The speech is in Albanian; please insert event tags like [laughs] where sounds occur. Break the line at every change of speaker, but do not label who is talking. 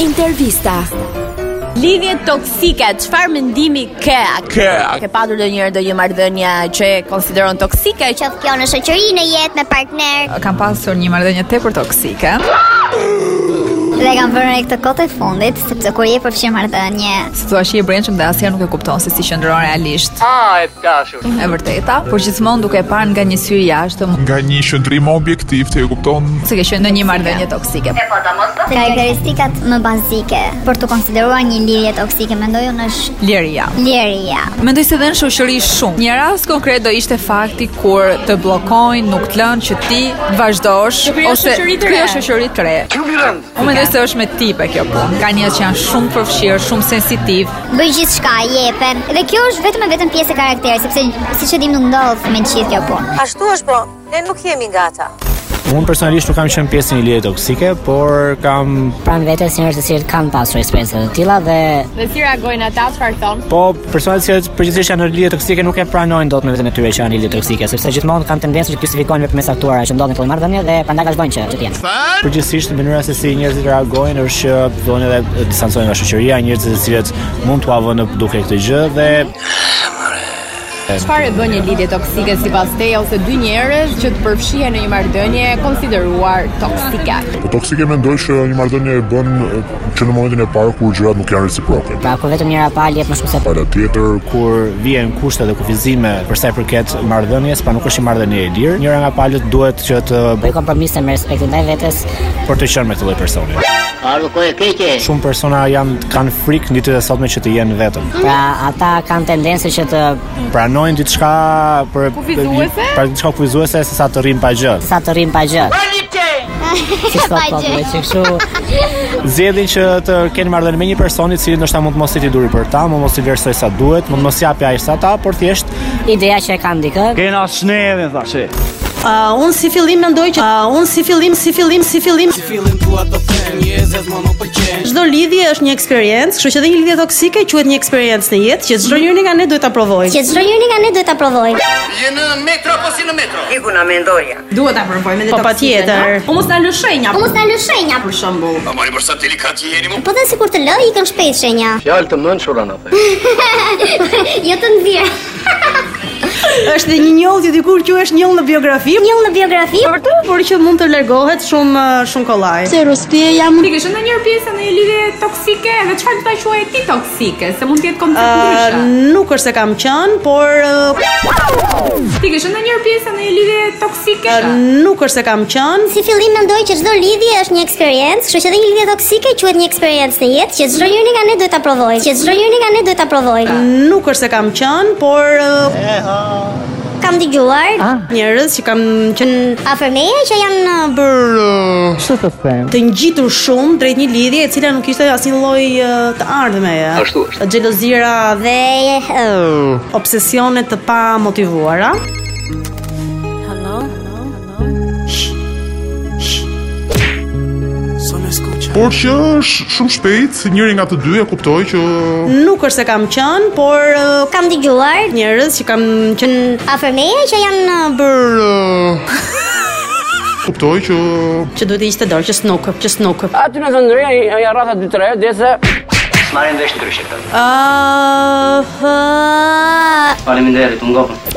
Intervista.
Lidhje toksike, çfarë mendimi ke?
Ke.
Ke patur ndonjëherë ndonjë marrëdhënie që e konsideron toksike? Që
Qoftë kjo në shoqëri, në jetë, me partner
Kam pasur një marrëdhënie tepër toksike.
Dhe kam vënë re këtë kote fundit Sepse kur je përfshirë marrëdhënie
Si thua që i brendshëm dhe asnjëherë nuk e kupton se si qëndron realisht.
Ah, e të dashur.
E vërteta, por gjithmonë duke e parë nga një sy i jashtëm
Nga një shëndrim objektiv të e kupton
se ke qenë në një marrëdhënie toksike.
Karakteristikat më bazike Për të konsideruar një lidhje toksike Mendoj unë është
Liria.
lirja
Mendoj se dhe në shoqëri shumë. Një rast konkret do ishte fakti kur të bllokojnë, nuk të lënë që ti vazhdosh
Të krijosh
ose
shoqëri të
të krijosh
re.
shoqëri të re.
Ju mirën.
Unë mendoj se është me tipe kjo punë. Ka njerëz që janë shumë përfshirë, shumë sensitiv,
Bëj gjithë shka, jepe Dhe kjo është vetëm e vetëm pjesë e karakterit Sepse si që dim nuk ndodh me gjithë kjo punë
Ashtu është po, ne nuk jemi gata.
Unë personalisht nuk kam qenë pjesë e një lidhje toksike, por kam
pranë vetes njerëz të cilët kanë pasur eksperiencë të tilla dhe
Dhe si reagojnë ata, çfarë thon?
po personat që përgjithsisht janë në lidhje toksike nuk e pranojnë dot me veten e tyre që janë në lidhje toksike, sepse gjithmonë kanë tendencë që të justifikojnë me përmes aktuara që ndodhin këto marrëdhënie dhe prandaj vazhdojnë që që të jenë. Përgjithsisht mënyra se si njerëzit reagojnë është që duhen edhe distancohen nga shoqëria, njerëz të cilët mund t'u avën duke këtë gjë dhe
Çfarë e bën një lidhje toksike sipas teje ose dy njerëz që të përfshihen në një marrëdhënie e konsideruar toksike?
Po toksike mendoj që një marrëdhënie e bën e, që në momentin e parë kur gjërat nuk janë reciproke.
pra kur vetëm njëra palë jep më shumë se po,
Pala tjetër
kur vjen kushte dhe kufizime për sa i përket marrëdhënies, pa nuk është një marrëdhënie e lirë, njëra nga palët duhet që të
bëj po kompromise me respektin ndaj vetes.
për të qenë me këtë lloj personi.
Ardhë kohë e keqe.
Shumë persona janë kanë frikë në ditët e sotme që të jenë vetëm.
Pra ata kanë tendencë që të
Pranojnë diçka për
Kufizuese?
për diçka kufizuese se sa të rrim pa gjë.
sa të rrim pa gjë. Si
[laughs] Pa gjë.
thot populli që kështu
Zgjedhin që të kenë marrëdhënie me një person i cili ndoshta mund të mos jetë i duri për ta, mund mos i vlerësoj sa duhet, mund mos japi ai sa ta, por thjesht
ideja që e kanë dikë
Kena sneve, thashe.
Uh, unë si fillim mendoj që uh, unë si fillim, si fillim, si fillim. Si fillim dua të them, je zez më më pëlqen. Çdo lidhje është një eksperiencë, kështu që edhe një lidhje toksike quhet një eksperiencë në jetë, që çdo njeri nga ne duhet ta provojë.
Që çdo njëri nga ne duhet ta provojmë.
Je në metro apo si në metro? Iku në mendoja.
Duhet ta provojmë
Po patjetër.
Po mos ta lë shenja.
Po mos ta lë shenja për shembull.
A mori për sa delikat jeni mu?
Po dhe sikur të lë ikën shpejt shenja.
Fjalë të mençura na the.
[laughs] jo të nxjerr.
është edhe një njollje dikur që është njollë në biografi,
Një në biografi
por të por që mund të largohet shumë uh, shumë kollaj.
se rustje jam
Ti ke qenë në një pjesë në një lidhje toksike dhe çfarë do ta quaje ti toksike, se mund të jetë koncept
Uh,
ndryshe.
nuk është se kam qenë, por uh,
Ti ke qenë në një pjesë në një lidhje toksike.
uh, nuk është se kam qenë.
Si fillim mendoj që çdo lidhje është një eksperiencë, kështu që edhe një lidhje toksike quhet një eksperiencë në jetë, që çdo njeri nga ne duhet ta provojë, që çdo njeri nga ne duhet ta provojë.
Pra.
Nuk është se kam qenë, por uh,
Kam dëgjuar
njerëz që kam qenë
afër meje që janë bër
të ngjitur shumë drejt një lidhje e cila nuk ishte asnjë lloj uh, të ardhmeje.
Ashtu është.
Xhelozira dhe
dhe
obsesione të pa motivuara.
Por që sh- shumë shpejt njëri nga të dy e kuptoi që
Nuk është se kam qenë, por uh,
kam dëgjuar
njerëz që kam qenë
afër meje që janë bër
kuptoi që
që duhet të ishte dorë, që snuk, që snuk.
Aty në zëndëria janë rrata 2-3 derisa Marrin vesh ndryshe këtë.
Ëh.
Ah,
Uh,
Faleminderit, u ngopën.